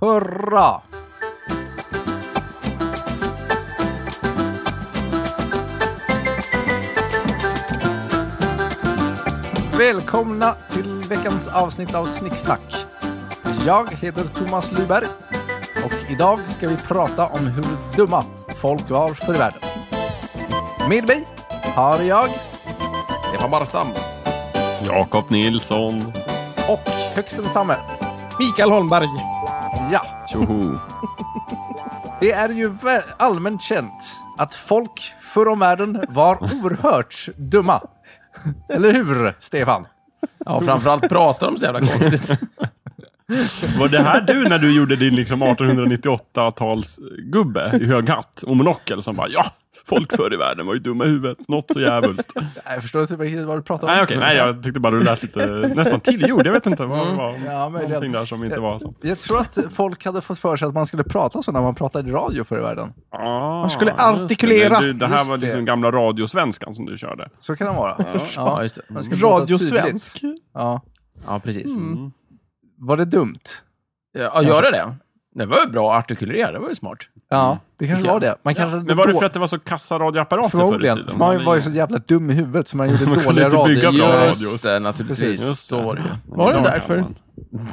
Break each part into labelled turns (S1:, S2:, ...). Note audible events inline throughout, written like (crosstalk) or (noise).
S1: Hurra! Välkomna till veckans avsnitt av Snicksnack. Jag heter Thomas Lyberg och idag ska vi prata om hur dumma folk var förr i världen. Med mig har jag
S2: Stefan Barstam.
S3: Jakob Nilsson.
S1: och högst densamme.
S4: Mikael Holmberg.
S1: Ja,
S3: Tjoho.
S1: Det är ju vä- allmänt känt att folk förr om världen
S3: (laughs)
S1: var oerhört dumma. Eller hur, Stefan?
S2: Ja, framförallt pratar de så jävla (laughs) konstigt.
S3: Var det här du när du gjorde din liksom 1898-talsgubbe i hög hatt och monokel som bara ja, folk förr i världen var ju dumma i huvudet. Något så jävligt.
S1: Jag förstår inte riktigt vad du pratar om.
S3: Nej okej, nej jag tyckte bara du lät lite nästan tillgjord. Jag vet inte vad det var.
S1: Ja, möjligen.
S3: någonting där som inte var så.
S1: Jag tror att folk hade fått för sig att man skulle prata så när man pratade i radio förr i världen.
S3: Ah,
S4: Man skulle
S3: just det.
S4: artikulera.
S3: Det, det här
S1: Just
S3: var liksom
S1: det.
S3: gamla radiosvenskan som du körde.
S1: Så kan det vara.
S2: Ja, just det. Mm.
S1: Man ska prata
S4: Radiosvensk.
S1: tydligt. Ja.
S2: Ja, precis. Mm.
S1: Var det dumt?
S2: Ja, göra det. Det var ju bra artikulerat, det var ju smart.
S1: Ja, det kanske
S2: Okej.
S1: var det. Man kanske
S3: Mm. Men var det
S1: då-
S3: för att det var så kassa radioapparater förr i
S1: Förmodligen.
S3: tiden?
S1: Man var ju så jävla dum i huvudet
S3: (laughs)
S1: så man gjorde
S3: Man kunde
S1: dåliga
S3: inte bygga
S1: radio.
S3: bra
S2: Just
S3: radios.
S2: det, naturligtvis.
S3: Just det.
S2: Så var det ju.
S4: Var det
S3: Idag
S4: därför?
S3: kan man. (laughs)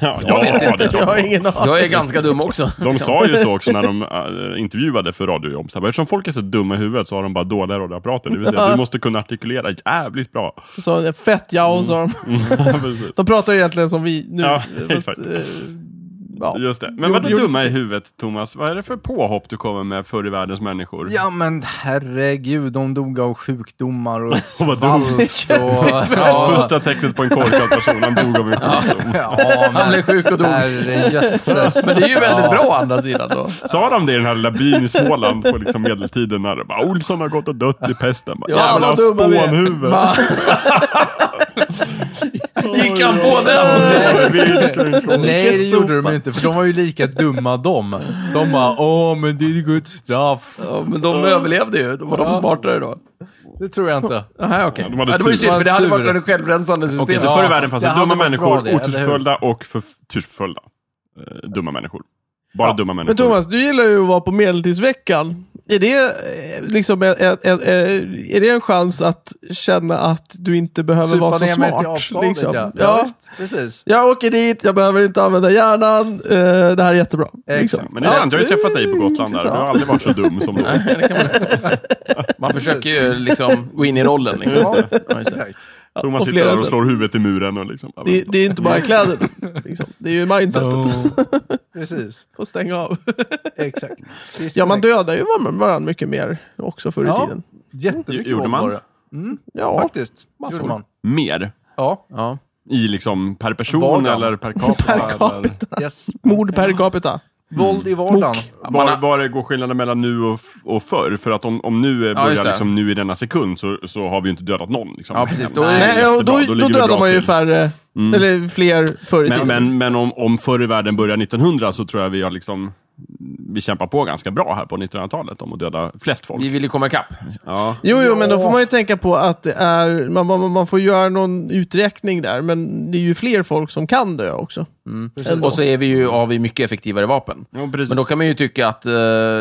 S3: ja,
S2: Jag vet
S3: ja,
S2: inte.
S3: det är klart.
S4: (laughs) Jag har ingen aning.
S2: Jag är ganska dum också. Liksom.
S3: De
S4: Liksom.
S3: sa ju så också när
S4: (laughs)
S3: de äh, intervjuade för radiojobb. Så här, Eftersom folk är så dumma i huvudet så har de bara dåliga radioapparater. Det vill säga, du måste kunna artikulera jävligt bra.
S4: Så det är fett (laughs) ja och så.
S1: Mm.
S3: Precis.
S4: De pratar ju egentligen som vi nu.
S3: Ja, (laughs)
S4: fast,
S3: exakt.
S4: eh, ja.
S3: Just det. Men
S4: Jo,
S3: vadå
S4: jo,
S3: dumma i huvudet, Thomas? Vad är det för påhopp du kommer med förr i världens människor?
S1: Ja men herregud, de dog av sjukdomar och
S3: vad
S1: svalt
S3: dumt.
S1: och... Ja.
S3: Första tecknet på en korkad person, han dog av en sjukdom.
S1: Ja, men
S2: Han blev sjuk och dog. (laughs)
S1: herrejösses.
S2: Men det är ju väldigt
S1: Ja.
S2: bra å andra sidan då.
S3: Sa de det i den här lilla byn i Småland på liksom medeltiden när de bara Olsson har gått och dött i pesten. Bara,
S4: Ja,
S3: Jävla
S4: vad dumma vi är."
S3: spånhuvud.
S2: Va? Gick han på den?
S3: Oj, vilken fråga.
S1: Nej, det
S4: Vilken
S1: gjorde de inte, för de var ju lika dumma de. De bara, åh, men det är ju Guds straff.
S2: Ja, men de överlevde ju. Då var de smartare då.
S1: Det tror jag inte.
S2: Aha, okay.
S3: Ja,
S2: ja,
S3: de hade
S2: det var ju
S3: tur.
S2: synd, för det hade
S1: Tur.
S2: varit en självrensande system.
S3: Okej, så
S1: Ja,
S3: förr i världen fanns
S1: det
S3: det
S1: hade
S3: dumma
S1: varit
S3: människor,
S1: bra det, eller hur?
S3: otursföljda och förtursföljda. Eh, dumma människor. Bara dumma människor.
S4: Men Thomas, du gillar ju att vara på Medeltidsveckan. Är det, eh, liksom, ett- ett- ett- eh, är det en chans att känna att du inte behöver vara så
S1: ner mig till
S4: smart?
S1: avståndet,
S4: liksom?
S1: ja. Ja,
S4: Ja.
S1: visst, precis.
S4: Jag åker dit, jag behöver inte använda hjärnan. Eh, det här är jättebra.
S1: Exakt.
S3: Men det är sant, jag har ju träffat dig på Gotland där. Du har
S4: intressant.
S3: aldrig varit så dum som då.
S2: Nej, det kan man inte.
S3: (laughs)
S2: Man försöker ju liksom gå in i rollen. Liksom.
S1: Ja.
S2: Ja, just det.
S1: Exakt.
S3: Thomas
S4: på
S3: sitter
S4: flera
S3: där och
S4: sätt.
S3: slår huvudet i muren och liksom...
S4: Det, det är inte bara kläder. Liksom. Det är ju mindsetet.
S1: Precis,
S4: (laughs) Att stänga av.
S1: exakt. Det är
S4: Ja, man
S1: korrekt.
S4: dödar ju varandra mycket mer också förr i
S1: Ja.
S4: tiden.
S1: Jättemycket
S3: Gjorde
S1: våld
S3: man?
S1: var det.
S4: Ja,
S1: Faktiskt.
S2: Massor.
S1: Gjorde man.
S3: Mer.
S1: Ja,
S2: Ja.
S3: I liksom per person
S1: Vardagen.
S3: eller per capita.
S4: Per capita.
S3: Eller,
S1: yes.
S4: mord per capita.
S1: Våld i vardagen.
S2: Man
S3: var,
S2: har-
S3: var det går skillnaden mellan nu och, f- och förr? För att om, om nu eh,
S2: Ja, just
S3: börjar
S2: det.
S3: liksom nu i denna sekund så, så har vi ju inte dödat någon. Liksom.
S2: Ja, precis. Då är det-
S4: Nej,
S3: jättebra.
S4: och då, då,
S3: ligger vi bra
S4: dödar man ju
S3: till. Mm.
S4: färre, eller fler förr i
S3: Men,
S4: tiden.
S3: men, men om, om förr i världen börjar 1900 så tror jag vi har liksom vi kämpar på ganska bra här på 1900-talet om att döda flest folk.
S2: Vi vill ju komma ikapp.
S3: Ja.
S4: Jo, jo,
S1: Ja.
S4: men då får man ju tänka på att det är, man, man, man får göra någon uträkning där, men det är ju fler folk som kan dö också. Ändå.
S2: Mm. Och så är vi ju, har vi mycket effektivare vapen.
S3: Ja, precis.
S2: Men då kan man ju tycka att eh,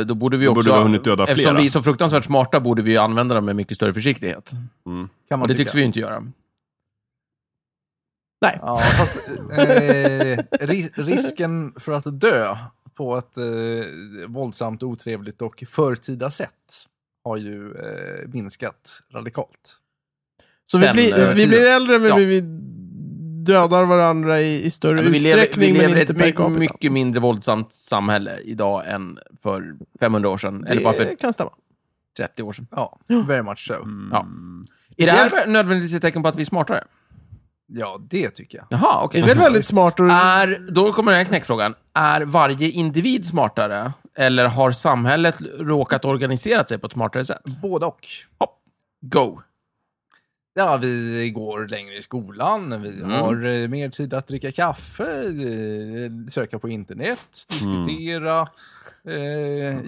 S2: då borde vi också...
S3: borde vi ha hunnit döda
S2: eftersom
S3: flera.
S2: vi är så fruktansvärt smarta borde vi ju använda dem med mycket större försiktighet.
S3: Mm.
S1: Kan man
S2: Och det
S1: tycka.
S2: tycks vi ju inte göra.
S4: Nej.
S1: Ja, fast eh, ri- risken för att dö på ett eh, våldsamt, otrevligt och förtida sätt har ju eh, minskat radikalt.
S4: Så vi
S2: Sen,
S4: blir,
S2: eh,
S4: vi blir äldre, men
S2: Ja.
S4: vi, vi dödar varandra i, i större
S2: Men vi lever, vi
S4: utsträckning,
S2: lever
S4: men
S2: i ett
S4: inte per
S2: my-
S4: capita.
S2: mycket mindre våldsamt samhälle idag än för 500 år sedan. Eller bara för
S4: Det kan stämma.
S2: 30 år sedan.
S1: Ja, very much so.
S2: Ja. Är det här nödvändigtvis ett tecken på att vi är smartare?
S1: Ja, det tycker jag.
S2: Jaha,
S4: Det
S2: okej.
S4: är
S2: (laughs)
S4: väl väldigt smart att...
S2: Är, då kommer den här knäckfrågan. Är varje individ smartare? Eller har samhället råkat organisera sig på ett smartare sätt?
S1: Både och.
S2: Go!
S1: Ja, vi går längre i skolan, vi
S2: Mm.
S1: har eh, mer tid att dricka kaffe, eh, söka på internet, diskutera. Eh,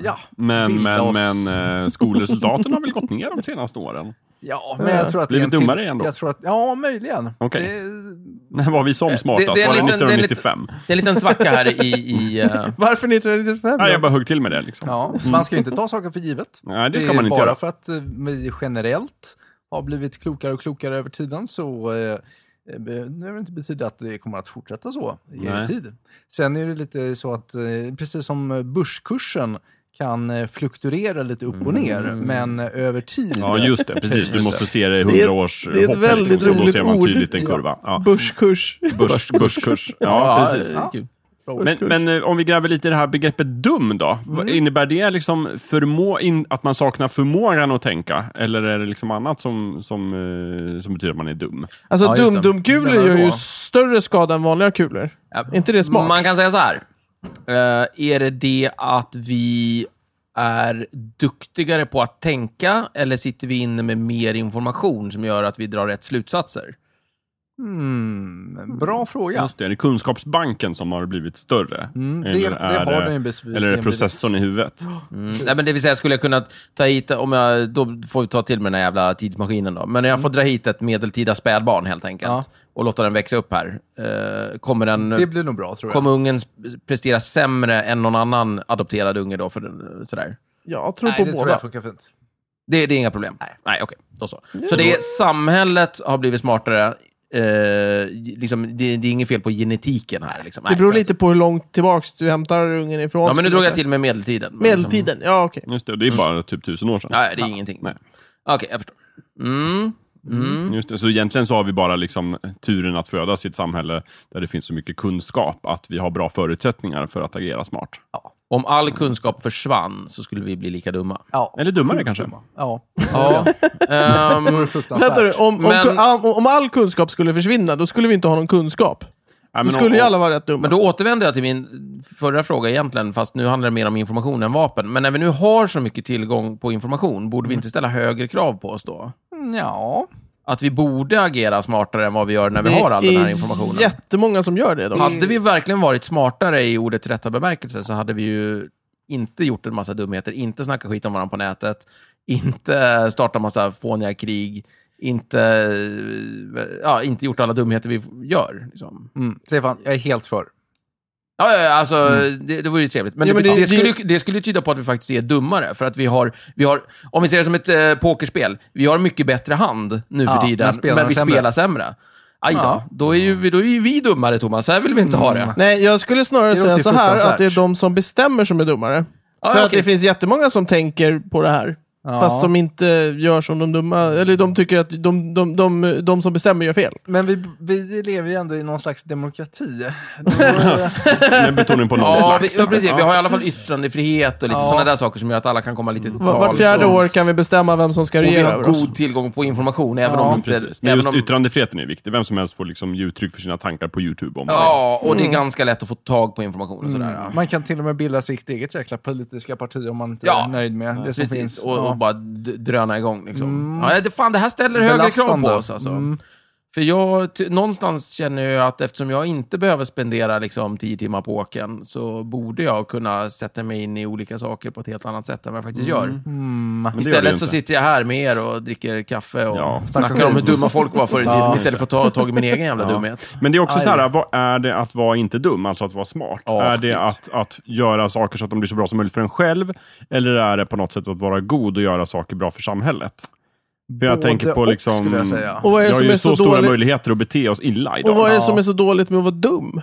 S1: ja,
S3: Men,
S1: Bilda
S3: men,
S1: oss.
S3: men eh, skolresultaten har väl gått ner de senaste åren?
S1: Ja, men jag tror att...
S3: Blivit
S1: det är en till-
S3: dummare igen då?
S1: Jag tror att, ja, möjligen.
S3: Okej.
S1: Det-
S3: När var vi som smartast?
S2: det är en
S3: var det
S2: liten- det är en liten-
S3: 1995?
S2: Det är en liten svacka här i... i eh,
S4: Varför 1995?
S2: Ah,
S3: Nej,
S4: då?
S3: jag bara högg till med det liksom.
S1: Ja, man ska ju inte ta saker för givet.
S3: Nej, det ska
S1: är
S3: man inte
S1: bara
S3: göra.
S1: för att eh, vi generellt har blivit klokare och klokare över tiden så eh, eh, behöver det inte betyda att det kommer att fortsätta så i
S3: Nej.
S1: tid. Sen är det lite så att, eh, precis som börskursen kan eh, fluktuera lite upp och ner, men eh, över tid.
S3: Mm. Ja, just det. Precis. Du
S1: Just
S3: måste se det i
S4: Det är-
S3: 100 års
S4: det är ett
S3: hopp,
S4: väldigt
S3: liksom, så Då
S4: roligt
S3: ser man
S4: ord.
S3: tydligt en kurva. Ja.
S2: (laughs)
S4: Börskurs.
S3: Börs, börskurs. Ja, precis.
S2: det är kul.
S3: Men,
S4: Börskurs.
S3: men eh, om vi gräver lite i det här begreppet dum då? Vad Innebär det liksom förmå, in, att man saknar förmågan att tänka? Eller är det liksom annat som, som, eh, som betyder att man är dum?
S4: Alltså
S2: Ja, just det.
S4: dum-dum-kulor
S2: Den är
S4: gör ju
S2: rå.
S4: större skada än vanliga kulor.
S2: Ja.
S4: Är inte det smart?
S2: Man kan säga så här. Eh, är det det att vi är duktigare på att tänka eller sitter vi inne med mer information som gör att vi drar rätt slutsatser?
S1: Mm, bra fråga.
S3: Just det, är det kunskapsbanken som har blivit större?
S1: Mm, det,
S3: eller
S1: det har den ju
S3: det,
S1: besvisligen
S3: eller är det
S1: blivit.
S3: processorn i huvudet?
S2: Mm. Nej, men det vill säga, skulle jag kunna ta hit, om jag, då får vi ta till med den här jävla tidsmaskinen då. Men jag får dra hit ett medeltida spädbarn helt enkelt
S1: Ja.
S2: och låta den växa upp här. Eh, kommer den...
S1: Det blir nog bra tror jag.
S2: Kommer ungen sp- prestera sämre än någon annan adopterad unge då? För, den- sådär.
S4: Jag tror
S1: Nej,
S4: på
S1: det tror
S4: båda.
S1: jag funkar fint.
S2: Det, det är inga problem? Nej, okej. Då så. Så det är, samhället har blivit smartare. Eh, liksom, det, det är inget fel på genetiken här. Liksom.
S4: Det
S2: Nej,
S4: beror
S2: men-
S4: lite på hur långt tillbaks du hämtar ungen ifrån.
S2: Ja, men nu
S4: skulle
S2: drog jag
S4: säga.
S2: till med medeltiden. Men Liksom,
S4: Medeltiden, ja okej.
S3: Just det, och det är bara typ tusen år sedan.
S2: ja, det är ingenting.
S3: Nej.
S2: Okej, jag förstår. Mm. Mm.
S3: Just det, så egentligen så har vi bara liksom turen att födas i ett samhälle där det finns så mycket kunskap att vi har bra förutsättningar för att agera smart.
S2: Om all kunskap försvann så skulle vi bli lika dumma.
S1: Ja,
S3: Eller dummare kanske.
S1: ja.
S2: Ja.
S1: det
S2: Ehm,
S1: vore
S4: Vänta nu,
S1: fruktansvärt.
S4: om, om,
S2: Men-
S4: kun- om, om all kunskap skulle försvinna, då skulle vi inte ha någon kunskap.
S3: Ja,
S4: Då
S3: men
S4: skulle ju
S3: om-
S4: alla vara rätt dumma.
S2: Men då återvänder jag till min förra fråga egentligen, fast nu handlar det mer om information än vapen. Men när vi nu har så mycket tillgång på information, borde vi inte ställa högre krav på oss då?
S1: Ja,
S2: Att vi borde agera smartare än vad vi gör när vi
S4: Det
S2: har all den här
S4: är
S2: informationen.
S4: jättemånga som gör det. Då.
S2: Hade vi verkligen varit smartare i ordets rätta bemärkelse så hade vi ju inte gjort en massa dumheter, inte snackat skit om varandra på nätet, inte startat massa fåniga krig, inte, eh, ja, inte gjort alla dumheter vi gör. Liksom.
S1: mm. Stefan, jag är helt för.
S2: Ja, ja, ja, alltså det, det vore ju trevligt. Men,
S4: Ja,
S2: det,
S4: men
S2: det,
S4: det-
S2: skulle, ju- det skulle ju tyda på att vi faktiskt är dummare. För att vi har, vi har om vi ser det som ett eh, pokerspel, vi har mycket bättre hand nu
S1: Ja,
S2: för tiden,
S1: men
S2: men,
S1: spelarna
S2: vi
S1: sämre.
S2: spelar sämre. Aj då,
S1: Ja.
S2: då, är ju, vi- då är ju vi dummare Thomas, så här vill vi inte ha det.
S4: Nej, jag skulle snarare
S1: Det låter
S4: säga så här, att
S1: fruktansvärt.
S4: det är de som bestämmer som är dummare.
S2: Ja,
S4: För att
S2: okej.
S4: det finns jättemånga som tänker på det här.
S1: Ja.
S4: Fast de inte gör som de dumma, eller de tycker att de, de, de, de som bestämmer gör fel.
S1: Men vi, vi lever ju ändå i någon slags
S2: (laughs)
S1: demokrati. Då-
S3: Med betoning på någon
S2: Ja, vi,
S3: slags.
S2: ja, precis. Vi har i alla fall yttrandefrihet och lite
S1: Ja.
S2: sådana där saker som gör att alla kan komma lite till
S4: Var- Vart
S2: tals.
S4: fjärde
S2: och,
S4: år kan vi bestämma vem som ska
S2: och vi
S4: regera
S2: har
S4: över oss.
S2: god tillgång på information, även
S1: Ja,
S2: om inte...
S3: Precis. Men
S2: även
S3: just
S2: om,
S3: yttrandefriheten är viktig. Vem som helst får liksom ge uttryck för sina tankar på YouTube. Om det.
S2: ja, och det är ganska lätt att få tag på information och sådär. ja.
S1: Man kan till och med bilda sitt eget jäkla politiska parti om man inte
S2: Ja.
S1: är nöjd med det som
S2: Precis,
S1: finns.
S2: och,
S1: Ja.
S2: och bara d- dröna igång. Liksom. Ja, det, fan, det här ställer högre krav på
S1: Belastande.
S2: oss. Alltså. För jag, ty- någonstans känner jag att eftersom jag inte behöver spendera liksom, tio timmar på åken så borde jag kunna sätta mig in i olika saker på ett helt annat sätt än vad jag faktiskt gör.
S1: Mm.
S3: Men det gör det ju
S2: Istället så
S3: inte.
S2: sitter jag här med er och dricker kaffe och
S3: Ja.
S2: snackar om hur dumma folk var förr i tiden
S1: Ja.
S2: istället för att ta tag i min egen jävla
S3: Ja.
S2: dumhet.
S3: Men det är också
S1: Aj.
S3: så här, vad är det att vara inte dum, alltså att vara smart?
S2: Ja,
S3: är det
S2: gud.
S3: att, att göra saker så att de blir så bra som möjligt för en själv? Eller är det på något sätt att vara god och göra saker bra för samhället? För jag
S1: Både
S3: tänker på
S1: och,
S3: liksom...
S1: skulle jag säga.
S4: Och vad är
S3: vi
S4: det
S3: har
S4: som
S3: ju
S4: är
S3: så,
S4: så
S3: stora
S4: dåligt?
S3: möjligheter att bete oss illa idag.
S4: Och vad är det
S1: Ja.
S4: som är så dåligt med att
S2: (laughs)
S4: vara dum?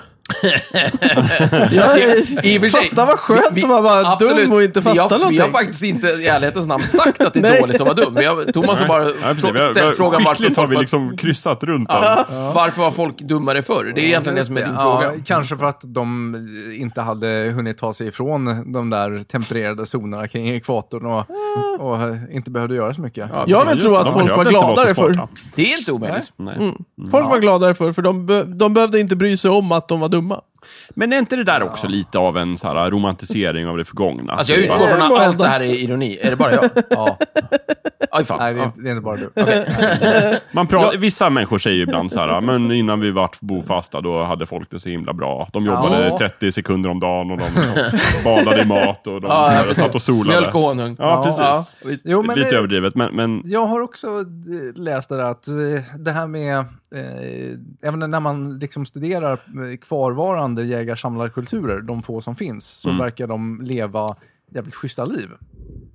S4: jag är,
S2: I och för sig-
S4: fatta vad skönt att vara bara dum och inte fatta
S2: vi har,
S4: någonting.
S2: Vi har faktiskt inte i ärlighetens namn sagt att det är
S4: Nej.
S2: dåligt att vara dum. Vi har, Thomas har bara
S3: Nej, precis.
S2: frå-
S3: Vi har- vi har-
S2: ställt frågan varför
S3: Skickligt har
S2: folk
S3: vi
S2: var-
S3: liksom kryssat runt
S2: Ja.
S3: den.
S2: Varför var folk dummare förr? Det är egentligen det som är din
S1: Ja,
S2: fråga.
S1: kanske för att de inte hade hunnit ta sig ifrån de där tempererade zonerna kring ekvatorn och, och inte behövde göra så mycket.
S2: Ja,
S4: Jag vill
S3: Just
S4: tro
S3: det,
S4: att
S3: de
S4: folk
S3: behövde
S4: var
S3: inte vara så
S4: gladare förr. Mm.
S3: smarta.
S2: Det är inte omöjligt.
S3: Nej.
S4: Folk var gladare förr, för de, be- de behövde inte bry sig om att de var dumma.
S3: Men är inte det där också lite av en så här romantisering av det förgångna?
S2: Alltså jag
S3: Bara-
S2: utgår från
S4: Nej,
S2: att
S4: bara-
S2: allt det här är ironi. Är det bara jag?
S1: Ja.
S2: Aj, fan.
S1: Nej, det är,
S2: Ja.
S1: inte, det är inte bara du.
S3: Man pratar, vissa människor säger ju ibland så här, men innan vi vart bofasta då hade folk det så himla bra. De jobbade
S1: Ja.
S3: 30 sekunder om dagen och de badade i mat och de
S2: Ja, ja,
S3: satt och solade.
S2: Mjölk och honung. Ja,
S3: Ja, precis.
S2: visst.
S1: Jo, men
S3: Lite
S1: det,
S3: överdrivet, men, men
S1: jag har också eh, läst det där att eh, det här med, eh, även när man liksom studerar eh, kvarvarande jägar-samlarkulturer, de få som finns, så verkar de leva jävligt schyssta liv.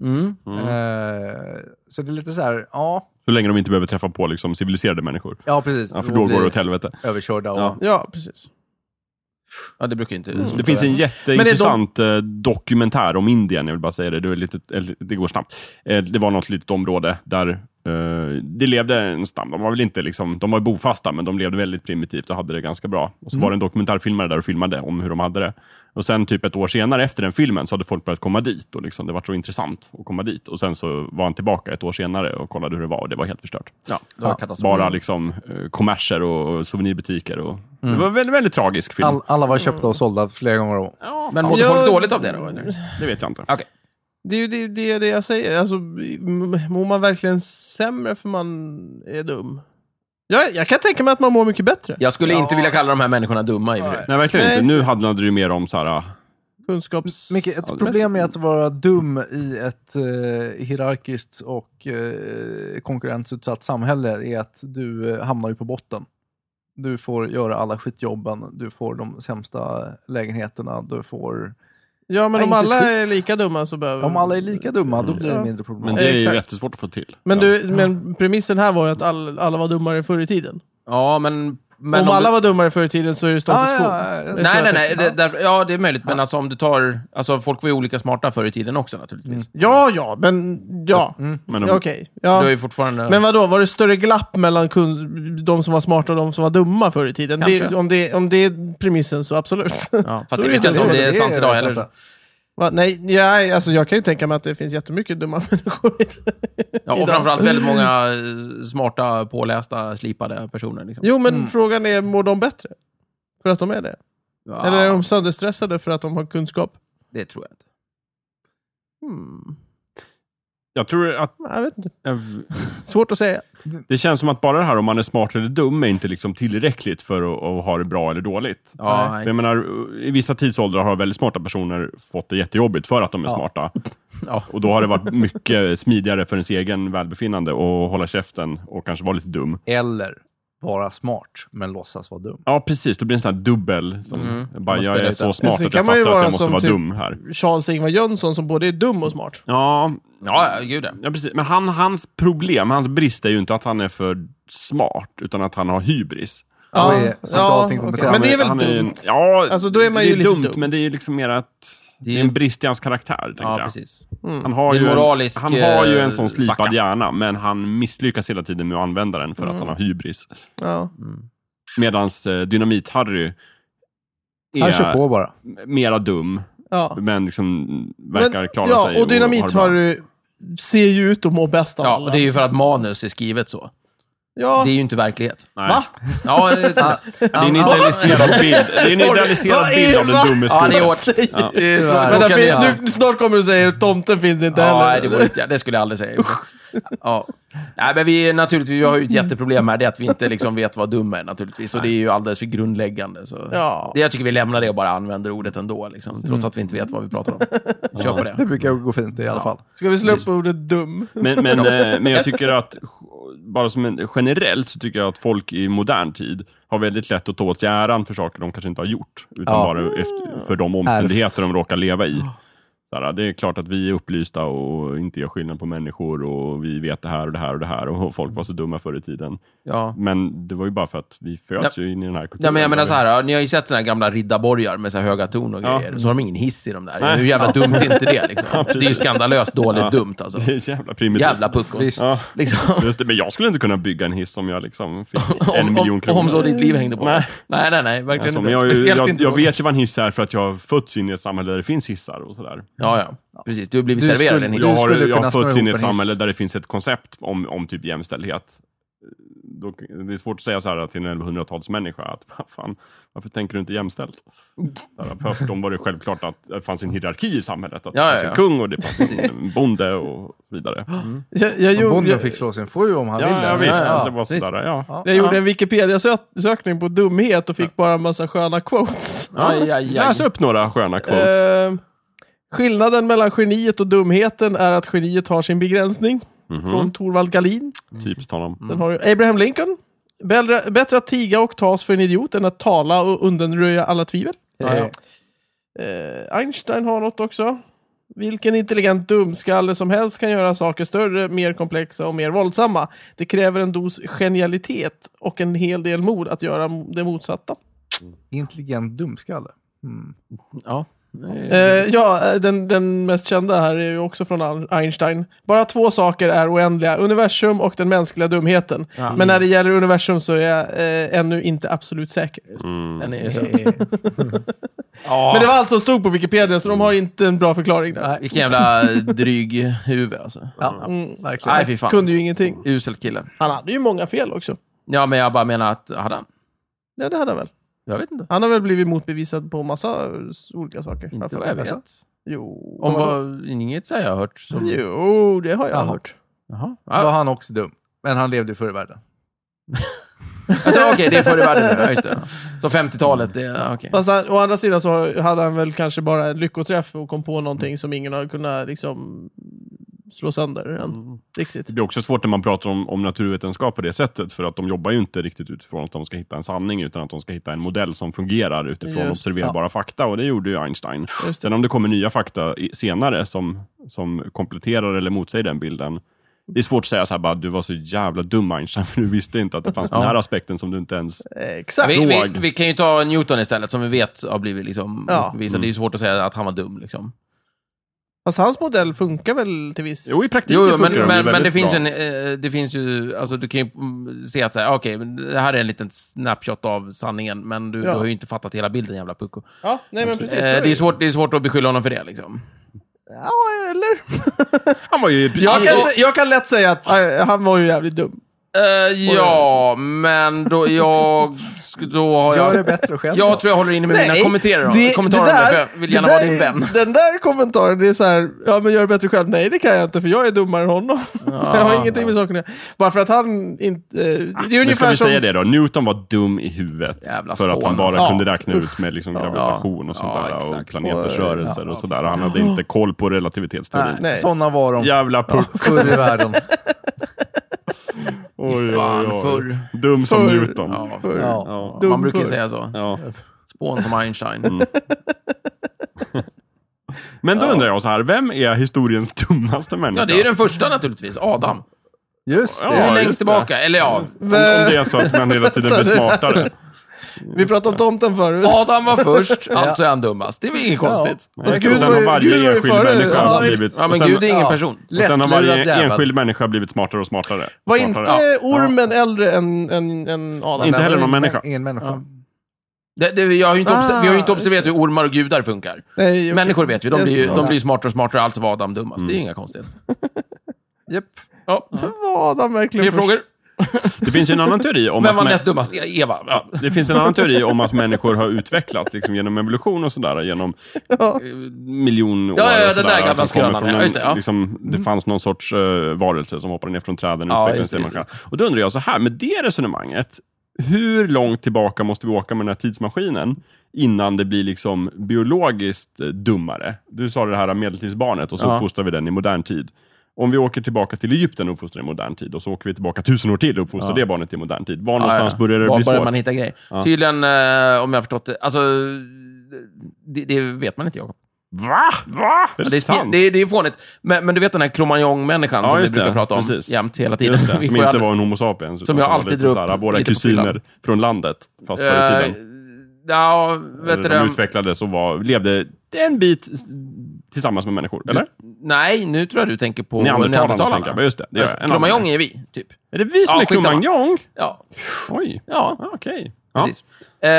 S2: Mm.
S1: Eh, så det är lite så här, ja,
S3: så länge de inte behöver träffa på liksom civiliserade människor.
S1: ja precis.
S3: Ja, för då
S1: Och
S3: går det
S1: bli
S3: åt helvete.
S1: Överkörda och...
S3: Ja.
S4: Ja, precis.
S2: Ja, det brukar ju inte...
S3: Det finns en
S4: Men är
S3: jätteintressant eh, dokumentär om Indien, jag vill bara säga det. Det, var lite, eller, det går snabbt. Eh, Det var något litet område där eh, det levde en stam. De var väl inte liksom, de var bofasta, men de levde väldigt primitivt och hade det ganska bra. Och så var det en dokumentärfilmare där och filmade om hur de hade det. Och sen typ ett år senare efter den filmen så hade folk börjat komma dit och liksom, det var så intressant att komma dit. Och sen så var han tillbaka ett år senare och kollade hur det var och det var helt förstört.
S2: Ja, det var katastrof.
S3: Bara liksom eh, kommerser och, och souvenirbutiker. Och, Det var en väldigt, väldigt tragisk film.
S1: All, alla var köpta och sålda flera gånger om.
S2: Men mådde
S4: Ja.
S2: folk dåligt av det då? eller?
S3: Det vet jag inte.
S2: Okej.
S4: Det är ju det, det, är det jag säger. Alltså, m- mår man verkligen sämre för man är dum? Jag, jag kan tänka mig att man mår mycket bättre.
S2: Jag skulle inte vilja kalla de här människorna dumma i och för sig.
S3: Nej, verkligen
S4: Nej.
S3: inte. Nu handlade det ju mer om så här,
S4: Kunskaps...
S1: Micke, ett problem med att vara dum i ett eh, hierarkiskt och eh, konkurrensutsatt samhälle är att du eh, hamnar ju på botten. Du får göra alla skitjobben, du får de sämsta lägenheterna, du får...
S4: Ja, men
S1: Nej,
S4: om
S1: inte
S4: alla
S1: skit.
S4: är lika dumma så behöver...
S1: Om alla är lika dumma, då blir det
S4: Ja.
S1: mindre
S3: men
S1: problematiskt.
S3: det är ju
S4: Exakt.
S3: jättesvårt att få till.
S4: Men,
S3: Ja.
S4: du, men premissen här var ju att all, alla var dummare förr i tiden.
S2: Ja, men... men
S4: om,
S2: om
S4: alla
S2: du- Ah,
S4: var dummare förr i tiden så är det status quo.
S1: Ah, jag-
S2: Nej,
S4: jag
S2: nej, nej.
S4: tänkte.
S2: Det, därför, ja, det är möjligt. Men alltså om du tar... Alltså folk var ju olika smarta förr i tiden också naturligtvis.
S4: Ja, ja, men ja. mm,
S3: Men om,
S4: Okej.
S2: mm. Du har
S4: Mm. Ja.
S2: ju fortfarande...
S4: Men vad då var det större glapp mellan kun- de som var smarta och de som var dumma förr i tiden? Det,
S2: Kanske.
S4: om, det, om det är premissen så absolut. (laughs)
S2: ja,
S4: Då
S2: fast det
S4: är
S2: vet
S4: det
S2: jag inte om
S4: dumt.
S2: det är sant idag
S1: jag vet
S2: heller.
S1: inte.
S4: Va? Nej, ja, alltså jag kan ju tänka mig att det finns jättemycket dumma (laughs) människor. i det.
S2: Ja, och
S4: Idag.
S2: framförallt väldigt många eh, smarta, pålästa, slipade personer. Liksom.
S4: Jo, men frågan är, mår de bättre? För att de är det?
S2: Ja,
S4: Eller är de sönderstressade för att de har kunskap?
S2: Det tror jag inte.
S4: Hmm.
S3: jag tror att
S4: Jag vet inte.
S3: eh,
S4: Svårt att säga.
S3: det känns som att bara det här om man är smart eller dum är inte liksom tillräckligt för att, att ha det bra eller dåligt.
S2: Ja,
S3: För
S2: nej.
S3: Jag menar, I vissa tidsåldrar har väldigt smarta personer fått det jättejobbigt för att de är
S1: Ja.
S3: smarta.
S2: Ja.
S3: Och då har det varit mycket smidigare för ens egen välbefinnande att hålla käften och kanske vara lite dum.
S1: Eller vara smart, men låtsas vara dum.
S3: Ja, precis. Det blir en sån här dubbel. Som, bara,
S1: Man
S3: jag
S1: spelar
S3: är
S1: ut det.
S3: så smart
S4: Sen
S3: att
S4: kan
S3: jag
S4: man ju
S3: fattar att
S4: vara
S3: jag måste
S4: som
S3: vara
S4: typ-
S3: dum här.
S4: Charles-Ingvar Jönsson som både är dum och smart.
S3: Ja,
S2: Ja, ja, gud ja.
S3: Ja, precis. Men han, hans problem, hans brist är ju inte att han är för smart, utan att han har hybris.
S1: Ja, är socialt inkompetent.
S4: Men det är väl
S3: han ju
S4: dumt?
S3: en- ja,
S4: Alltså, då är man
S3: det
S4: ju
S3: är
S4: lite
S3: dumt,
S4: dum.
S3: men det är ju liksom mer att...
S2: Det
S3: Det
S2: är
S3: är
S2: ju...
S3: en brist i hans karaktär, tänker
S2: Ja,
S3: jag.
S2: precis. Mm.
S3: Han har,
S2: Det är
S3: ju en,
S2: moralisk,
S3: han har ju
S2: eh,
S3: en sån slipad
S2: svacka.
S3: hjärna, men han misslyckas hela tiden med att använda den för att
S4: Mm.
S3: han har hybris.
S4: Ja.
S2: Mm.
S3: Medan eh, Dynamit-Harry
S1: Han kör
S3: är
S1: på bara.
S3: mera dum,
S4: Ja.
S3: men liksom verkar
S4: Men-
S3: klara
S4: ja,
S3: sig.
S4: och Dynamit
S3: har
S4: har
S3: det bra.
S4: du, ser ju ut att må bäst av
S2: Ja, och
S4: alla.
S2: det är ju för att manus är skrivet så.
S4: ja.
S2: Det är ju inte verklighet.
S3: Nej.
S4: Va?
S2: Ja, det är,
S3: Det är en idealiserad bild, det är en idealiserad
S4: Vad
S3: bild av den
S4: är-
S3: dumme
S2: ja, det är
S4: (laughs)
S3: skurken.
S2: hårt.
S4: Ja.
S2: Det är
S1: Tyvärr.
S2: tråkiga
S4: Men därför-
S2: nyheter.
S4: nu, snart kommer du säga att tomten finns inte
S2: Ja,
S4: heller.
S2: nej, det, vore inte, det skulle jag aldrig säga. Ja. Nej, men vi, är naturligtvis, vi har ju ett jätteproblem här, det är att vi inte liksom vet vad dum är naturligtvis. Och det är ju alldeles för grundläggande. Så.
S4: Ja.
S2: Det, jag tycker vi lämnar det och bara använder ordet ändå, liksom, trots att vi inte vet vad vi pratar om. Kör på
S1: Det
S2: det.
S1: brukar gå fint i alla fall.
S4: Ska vi slå upp ordet dum?
S3: Men, men, eh, men jag tycker att, bara som en, generellt, så tycker jag att folk i modern tid har väldigt lätt att ta åt sig äran för saker de kanske inte har gjort. Utan
S1: Ja.
S3: bara efter, för de omständigheter de råkar leva i. Såhär, det är klart att vi är upplysta och inte gör skillnad på människor och vi vet det här och det här och det här och folk var så dumma förr i tiden.
S2: Ja.
S3: Men det var ju bara för att vi föds ju in i den här kulturen.
S2: Ja, men jag menar så här, ja, ni har ju sett såna här gamla riddarborgar med så här höga torn och
S3: Ja.
S2: grejer. Så har de ingen hiss i de där.
S3: Nej.
S2: Hur jävla dumt är inte
S3: (laughs)
S2: det? Liksom?
S3: Ja,
S2: det
S3: precis.
S2: är ju skandalöst dåligt
S3: Ja.
S2: dumt alltså.
S3: (laughs) Det är så jävla primitivt.
S2: Jävla puckon.
S1: Visst.
S3: Ja,
S2: Liksom.
S3: just det, men jag skulle inte kunna bygga en hiss om jag liksom fick
S2: (laughs)
S3: en
S2: Om,
S3: miljon
S2: om,
S3: kronor.
S2: om så ditt liv hängde på det.
S3: Nej.
S2: Nej, nej, nej. Verkligen
S3: Alltså, men
S2: inte.
S3: jag,
S2: Speciellt
S3: jag,
S2: inte
S3: jag
S2: då.
S3: vet ju vad en hiss är för att jag har fötts in i ett samhälle där det finns hissar och sådär.
S2: Ja, ja. Precis. Du har blivit
S1: Du
S2: serverad
S1: skulle-
S2: en hiss.
S3: Jag har,
S1: skulle
S3: jag
S1: kunna
S3: har
S1: snurra
S3: fötts in i
S1: ihop
S3: ett
S1: en hiss.
S3: samhälle där det finns ett koncept om, om typ jämställdhet. då, det är svårt att säga så här till en 1100-talsmänniska att "Va fan, varför tänker du inte jämställt? Så här, för dem var det självklart att det fanns en hierarki i samhället. Att
S2: Ja,
S3: det
S2: ja,
S3: fanns en
S2: ja.
S3: kung och det fanns en bonde och så vidare. Mm.
S4: Jag, jag,
S1: Och
S4: gjorde,
S1: bonden
S4: jag,
S1: fick slå sin fru om han
S3: Ja,
S1: ville.
S3: ja, visst.
S2: ja,
S3: att det var
S2: precis.
S3: sådär, ja.
S1: Ja.
S4: jag gjorde en Wikipedia-sökning på dumhet och fick bara en massa sköna quotes.
S2: Aj, aj, aj.
S3: Läs upp några sköna quotes.
S4: Eh, skillnaden mellan geniet och dumheten är att geniet har sin begränsning.
S2: Mhm.
S4: Från Torvald Galin.
S2: Eh.
S3: Typiskt
S2: Mm.
S3: honom.
S4: Sen har du Abraham Lincoln. Bättre, bättre att tiga och tas för en idiot än att tala och undanröja alla tvivel.
S2: Ja, ja.
S4: Eh, Einstein har något också. Vilken intelligent dumskalle som helst kan göra saker större, mer komplexa och mer våldsamma. Det kräver en dos genialitet och en hel del mod att göra det motsatta.
S1: Intelligent dumskalle. Mm.
S2: Ja.
S4: Eh, ja, eh, den, den mest kända här är ju också från Ein- Einstein. Bara två saker är oändliga, universum och den mänskliga dumheten.
S2: Ja.
S4: Men när det gäller universum så är jag eh, ännu inte absolut säker.
S3: Mm.
S2: Den är ju
S3: (laughs)
S2: så. Ah.
S4: Men det var allt som stod på Wikipedia, så de har inte en bra förklaring där.
S1: Nej,
S2: Vilken jävla dryg huvud alltså.
S1: ja,
S4: Mm.
S1: verkligen.
S2: Nej, fy fan.
S4: Kunde ju ingenting.
S2: Usel kille.
S4: Han hade ju många fel också.
S2: Ja, men jag bara menar att, hade han?
S4: Ja, det hade han väl.
S2: Jag vet inte.
S4: Han har väl blivit motbevisad på massa eh, olika saker.
S2: Inte
S4: Varför
S2: vad Alltså, jag vet.
S4: Jo.
S2: Om
S4: vadå?
S2: vad, inget jag har hört. Som,
S4: Jo, det har jag
S1: Jaha.
S4: hört.
S2: Jaha.
S1: Då var
S2: Ja.
S1: han också dum. Men han levde ju förr i världen.
S2: Alltså, okej, det är förr i världen nu. Ja, just det. Så 50-talet, det är... okej.
S4: Fast han, å andra sidan så hade han väl kanske bara en lyckoträff och kom på någonting som ingen har kunnat liksom slå sönder än.
S2: Mm.
S4: Riktigt.
S3: Det blir också svårt när man pratar om, om naturvetenskap på det sättet, för att de jobbar ju inte riktigt utifrån att de ska hitta en sanning, utan att de ska hitta en modell som fungerar utifrån
S4: Just,
S3: observerbara fakta, och det gjorde ju Einstein.
S4: Just det.
S3: Sen om det kommer nya fakta i- senare som, som kompletterar eller motsäger den bilden, det är svårt att säga så här bara, du var så jävla dum Einstein, (laughs) för du visste inte att det fanns den här aspekten som du inte ens...
S4: Exakt.
S2: Vi,
S3: Såg.
S2: vi, vi kan ju ta Newton istället, som vi vet har blivit liksom
S4: Ja.
S2: motbevisad. Det är ju svårt att säga att han var dum. Liksom.
S4: Fast hans modell funkar väl till viss...
S3: Jo, i praktiken
S2: Jo, jo, men,
S3: funkar de ju
S2: men, men det,
S3: väldigt
S2: finns
S3: bra.
S2: en, eh, det finns ju... Alltså, du kan ju mm, se att så här, okej, men det här är en liten snapshot av sanningen, men du,
S4: Ja.
S2: du har ju inte fattat hela bilden, jävla pucko.
S4: Ja, nej men precis.
S2: Eh,
S4: så är
S2: det, är
S4: ju.
S2: svårt, det är svårt att beskylla honom för det. Liksom.
S4: Ja, eller?
S3: Han var ju...
S4: Jag kan,
S2: Alltså-
S4: sä- jag kan lätt säga att eh, han var ju jävligt dum.
S2: Eh, ja, men då, jag, sk- då har
S1: Gör det
S2: jag...
S1: bättre själv då.
S2: Jag tror jag håller inne med mina kommentarer, det, kommentarer
S4: det
S2: där, för jag vill gärna
S4: det
S2: vara
S4: där
S2: din
S4: är-
S2: vän.
S4: Den där kommentaren, det är så här, ja men gör det bättre själv. Nej det kan jag inte för jag är dummare än honom. (laughs) jag har ingenting med saken att göra. Bara för att han inte... eh, Det är
S3: Men ska
S4: ungefär
S3: vi
S4: som...
S3: säga det då? Newton var dum i huvudet.
S2: Jävla
S3: för att
S2: spån,
S3: han bara
S2: alltså.
S3: kunde räkna ut med liksom gravitation och sånt
S2: Ja,
S3: där. Och
S2: exakt.
S3: planeters
S4: Och, ja,
S3: rörelser och sådär. Han hade inte koll på relativitetsteorin.
S1: Nej,
S4: Nej.
S1: sådana var de
S3: Jävla
S2: (laughs)
S3: puck.
S1: förr i världen.
S3: Oj, oj, oj.
S2: Fan, förr.
S3: Dum som
S4: Förr.
S3: Newton.
S2: Ja,
S4: För,
S1: Ja.
S3: Ja.
S4: Dum
S2: man brukar ju
S4: förr.
S2: säga så.
S3: Ja.
S2: Spån som Einstein.
S3: Men då undrar jag så här, vem är historiens dummaste människa?
S2: Ja, det är ju den första naturligtvis. Adam.
S1: Just
S3: Ja,
S2: Det är
S1: det.
S2: ju längst
S3: just det.
S2: tillbaka. Eller ja,
S3: Om, om det är så att man hela tiden
S2: (laughs)
S3: blir smartare.
S4: Vi pratade om tomten förut.
S2: Adam var först, alltså är han dummast. Det är väl inget konstigt.
S3: Nej,
S4: Gud
S3: och sen
S4: var
S3: har
S4: ju- Gud var
S3: varje
S4: ju
S3: enskild
S4: före.
S3: människa
S4: Ja,
S1: visst.
S3: blivit...
S2: Ja,
S3: och
S2: men
S3: sen,
S2: Gud, det är ingen
S1: ja.
S2: person.
S3: och sen har varje
S1: Lättlurad jävel.
S3: enskild människa blivit smartare och smartare.
S4: Var inte
S3: smartare.
S4: ormen äldre än, än, än Adam?
S3: Inte heller någon
S1: Ingen-
S3: människa.
S1: Ingen människa.
S2: Ja. Det, det, jag har ju inte obs-
S4: Ah,
S2: vi har ju inte observerat hur ormar och gudar funkar.
S4: Nej, okej.
S2: Människor vet vi, de blir, ju,
S4: Just det.
S2: de blir ju smartare och smartare, alltså var Adam dummast.
S3: Mm.
S2: Det är ju inga konstigheter.
S1: Japp.
S2: Ja,
S4: Var Adam verkligen
S2: fler
S4: först?
S2: frågor?
S3: Det finns ju en annan teori om
S2: Vem var
S3: att... mä-
S2: näst dummast? E- Eva? Ja.
S3: Ja, det finns en annan teori om att människor har utvecklats liksom, genom evolution och sådär, genom
S4: Ja.
S3: eh, miljon år.
S2: Ja, ja, ja,
S3: och sådär,
S2: den där
S3: att
S2: gamla
S3: de kommer
S2: skrönan,
S3: från
S2: ja,
S3: en,
S2: just det, ja. Mm.
S3: liksom, det fanns någon sorts eh, varelse som hoppade ner från träden och
S2: Ja,
S3: utvecklades
S2: just det,
S3: till
S2: just
S3: människa. Och då undrar jag så här, med det resonemanget, hur långt tillbaka måste vi åka med den här tidsmaskinen innan det blir liksom biologiskt eh, dummare? Du sa det här medeltidsbarnet och så
S2: Ja.
S3: uppfostrar vi den i modern tid. Om vi åker tillbaka till Egypten och uppfostrar i modern tid och så åker vi tillbaka tusen år till och uppfostrar det barnet i modern tid. Var någonstans börjar det
S2: Var
S3: bli
S2: börjar
S3: svårt?
S2: man hitta grejer? Tydligen, eh, om jag har förstått det, alltså, det, det vet man inte, Jakob.
S3: Va? Va? Är det,
S2: Det är, spe-
S3: sant?
S2: det, är, det är fånigt. Men, men du vet den här cromagnon-människan
S3: Ja,
S2: som vi
S3: just det.
S2: brukar prata om
S3: Precis.
S2: jämt, hela tiden.
S3: Just det,
S2: (laughs) Vi
S3: som
S2: får
S3: inte
S2: aldrig-
S3: var en homo sapiens. utan
S2: Som jag
S3: var
S2: alltid
S3: lite
S2: drar
S3: så här,
S2: upp
S3: Våra
S2: lite på
S3: kusiner
S2: fyllan.
S3: från landet, fast förr i tiden.
S2: Eh, ja, vet du
S3: Eller de
S2: det?
S3: utvecklades och var, levde en bit s- tillsammans med människor, eller?
S2: Nej, nu tror jag du tänker på
S3: Neandertalarna tänker jag på,
S2: neandertalarna. Alltså,
S3: just det, det gör jag. En annan
S2: Cromagnon
S3: grej.
S2: är vi, typ.
S3: Är det vi som
S2: Ja,
S3: är
S2: skitsamma.
S3: Cromagnon?
S2: Ja,
S3: Oj,
S2: ja
S3: ah, okej.
S2: precis. Eh,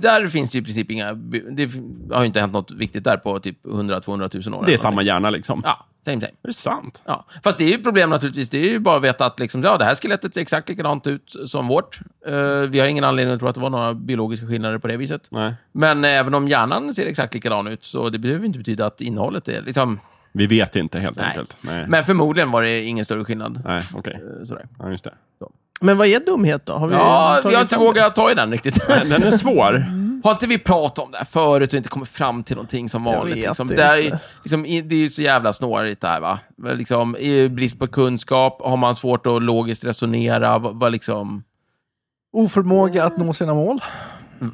S2: där finns det ju i princip inga... Det har ju inte hänt något viktigt där på typ 100-200 000 år. eller
S3: Det är
S2: någonting.
S3: samma hjärna liksom.
S2: Ja, Same same.
S3: Är det sant?
S2: Ja. Fast det är ju problem naturligtvis. Det är ju bara att veta att liksom, ja, det här skelettet ser exakt likadant ut som vårt. Eh, vi har ingen anledning att tro att det var några biologiska skillnader på det viset.
S3: Nej.
S2: Men även om hjärnan ser exakt likadan ut, så det behöver inte betyda att innehållet är... Liksom,
S3: Vi vet inte helt
S2: Nej.
S3: enkelt. Nej,
S2: men förmodligen var det ingen större skillnad.
S3: Nej okej.
S2: Eh, Sådär. (laughs)
S3: Ja, just det.
S4: Men vad är dumhet då? Har vi
S2: Ja, vi
S4: tagit
S2: har inte
S4: fram det?
S2: vågat ta i den riktigt.
S3: Den är svår.
S2: (laughs) Har inte vi pratat om det här förut och inte kommit fram till någonting som vanligt?
S4: vet
S2: Liksom?
S4: det
S2: Det, här är,
S4: inte.
S2: liksom, i- det är ju så jävla snårigt det här va? Men Liksom, i brist på kunskap, har man svårt att logiskt resonera? Vad, vad liksom...
S1: Oförmåga att nå sina mål.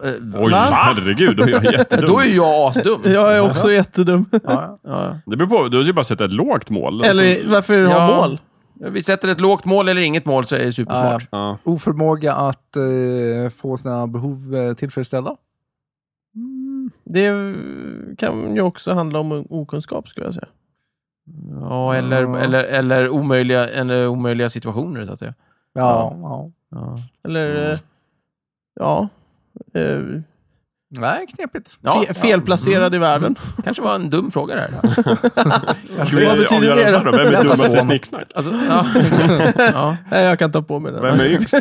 S2: eh,
S3: Oj, herregud. Då är jag
S2: (laughs)
S3: jättedum.
S2: Då är ju jag
S4: (laughs)
S2: asdum.
S4: Jag är också jättedum.
S1: Ja,
S2: (laughs) Ja.
S3: Det beror på. Du har ju bara sett ett lågt mål. alltså.
S4: Eller varför
S2: Ja.
S4: ha mål?
S2: Vi sätter ett lågt mål eller inget mål så är jag
S1: ja.
S2: supersmart.
S3: Ja.
S1: Oförmåga att eh, få sina behov eh, tillfredsställda.
S4: Det kan ju också handla om okunskap skulle jag säga.
S2: Ja, eller,
S1: Ja.
S2: eller, eller, omöjliga, eller omöjliga situationer så att säga.
S1: Ja, ja.
S2: Ja,
S4: Eller,
S2: Mm.
S4: eh, ja. Eh,
S1: Nej, knepigt.
S2: ja, Mm.
S4: fe- felplacerad i världen.
S2: ja. kanske var en dum fråga det här.
S3: Ska vi
S4: Vad betyder
S3: avgöra
S4: det
S3: så
S4: då?
S3: här då?
S4: (laughs)
S3: Vem är
S2: Jävla
S3: dummast i
S2: svår.
S3: snicksnack?
S2: Alltså, ja, exakt. ja.
S4: Nej, jag kan ta på mig den.
S3: Vem är
S4: (laughs)
S3: yngst?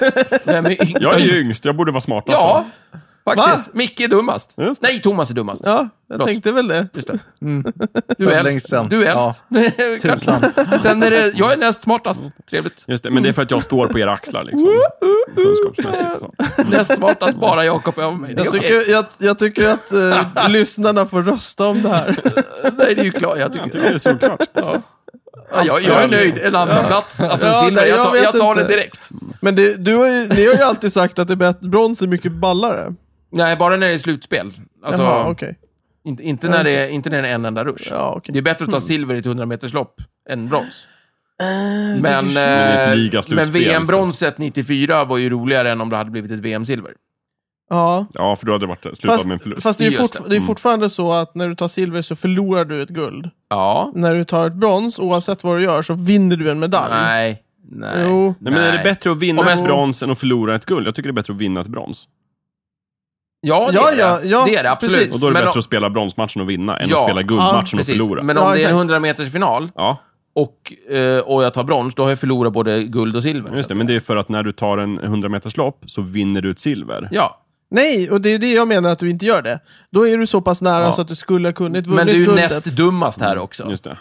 S2: Vem är yngst?
S3: Jag är ju yngst. Jag borde vara smartast.
S2: Ja, faktiskt.
S4: Va?
S2: Micke är dummast.
S3: Just
S2: Nej, Thomas är dummast.
S4: Ja, jag
S2: Låt.
S4: tänkte väl det.
S2: Just det.
S1: Mm.
S2: Du är
S1: Längst
S2: äldst.
S1: sen.
S2: Du är äldst. (laughs)
S1: Tusan.
S2: Kanske. Sen är det, jag är näst smartast. Trevligt.
S3: då. Just det, men det är för att jag står på era axlar liksom. Kunskapsmässigt. Så.
S2: Näst smartast, bara Jakob är över mig. Det är
S4: Jag
S2: okej.
S4: tycker, jag, jag tycker att
S2: (laughs)
S4: eh, lyssnarna får rösta om det här.
S2: Nej, det är ju klart. Jag
S3: Jag
S2: tycker...
S3: tycker det är solklart.
S2: Ja. Ja, jag, jag är nöjd. En andra plats. Alltså,
S4: Ja,
S2: silver.
S4: nej,
S2: Jag
S4: jag
S2: tar,
S4: vet
S2: jag tar det
S4: inte.
S2: direkt.
S4: Men det, du har ju, ni har ju alltid sagt att det är bättre, brons är mycket ballare.
S2: Nej, bara när det är slutspel. Alltså,
S4: Jaha, okej.
S2: inte, inte, när det är, inte när det är en enda rush.
S4: Ja, okej. Mm.
S2: Det är bättre att ta silver i ett 100-meterslopp än brons. Men,
S3: Men ett
S2: eh,
S3: ligaslutspel,
S2: men VM-bronset 94 var ju roligare än om det hade blivit ett VM-silver.
S4: Ja.
S3: Ja, för då hade det varit eh, slutat
S4: Fast,
S3: med en förlust.
S4: fast det är ju
S2: Just Mm.
S4: fort, det är fortfarande så att när du tar silver så förlorar du ett guld.
S2: Ja.
S4: När du tar ett brons, oavsett vad du gör, så vinner du en medalj.
S2: Nej. Nej.
S4: Jo.
S3: Nej, men är det bättre att vinna
S2: Om
S3: ett
S2: jag-
S3: brons än att förlora ett guld? Jag tycker det är bättre att vinna ett brons.
S2: Ja, det
S4: Ja,
S2: är
S4: ja,
S2: det.
S4: ja,
S2: det är det absolut.
S4: precis.
S3: Och då är det
S2: Men
S3: bättre
S2: om-
S3: att spela bronsmatchen och vinna än
S2: Ja,
S3: att spela guldmatchen och
S2: precis.
S3: förlora.
S2: Men
S4: Ja,
S2: om det är en
S4: exakt.
S2: 100-metersfinal
S3: Ja,
S2: och, eh, och jag tar brons, då har jag förlorat både guld och silver.
S3: just
S2: så
S3: det.
S2: att
S3: Men det
S2: säga.
S3: är för att när du tar en 100 meters lopp så vinner du ett silver.
S2: Ja,
S4: Nej, och det är det jag menar att du inte gör det. Då är du så pass nära
S2: Ja.
S4: så att du skulle ha kunnat vunnit
S2: men du är ju
S4: guldet.
S2: näst dummast här också.
S3: Just det.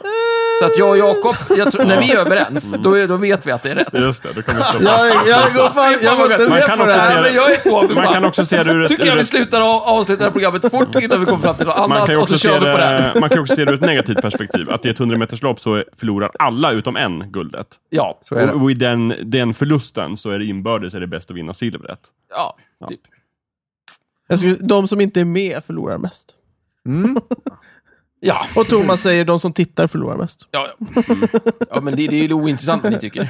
S2: Så att jag och Jakob, jag tror, när vi är överens,
S3: Mm.
S2: då, är- då vet vi att det är rätt.
S3: Just det, då kan man slå fast.
S4: Jag, jag går fan, jag går inte
S3: Man
S4: med
S3: kan
S4: på det
S3: också se
S4: här.
S3: det.
S2: men jag är på för
S3: Man
S2: fan.
S3: kan också se det ur ett...
S2: Tycker jag
S3: ur
S2: vi
S3: ett-
S2: slutar och avslutar det här programmet fort innan vi kommer fram till något
S3: man
S2: annat
S3: kan, ju
S2: och så
S3: också se
S2: Alltså, kör vi på det här.
S3: det, man kan ju också se det ur ett negativt perspektiv. Att i ett 100 meters lopp så förlorar alla utom en guldet.
S2: Ja,
S1: Så är det.
S3: Och, och i den, den förlusten så är det inbördes är det bäst att vinna silvret.
S2: ja, typ.
S4: Jag skulle, de som inte är med förlorar mest.
S1: Mm.
S2: Ja,
S4: Och Thomas säger de som tittar förlorar mest.
S2: ja, ja.
S3: Mm.
S2: ja men det, det är ju ointressant vad ni tycker.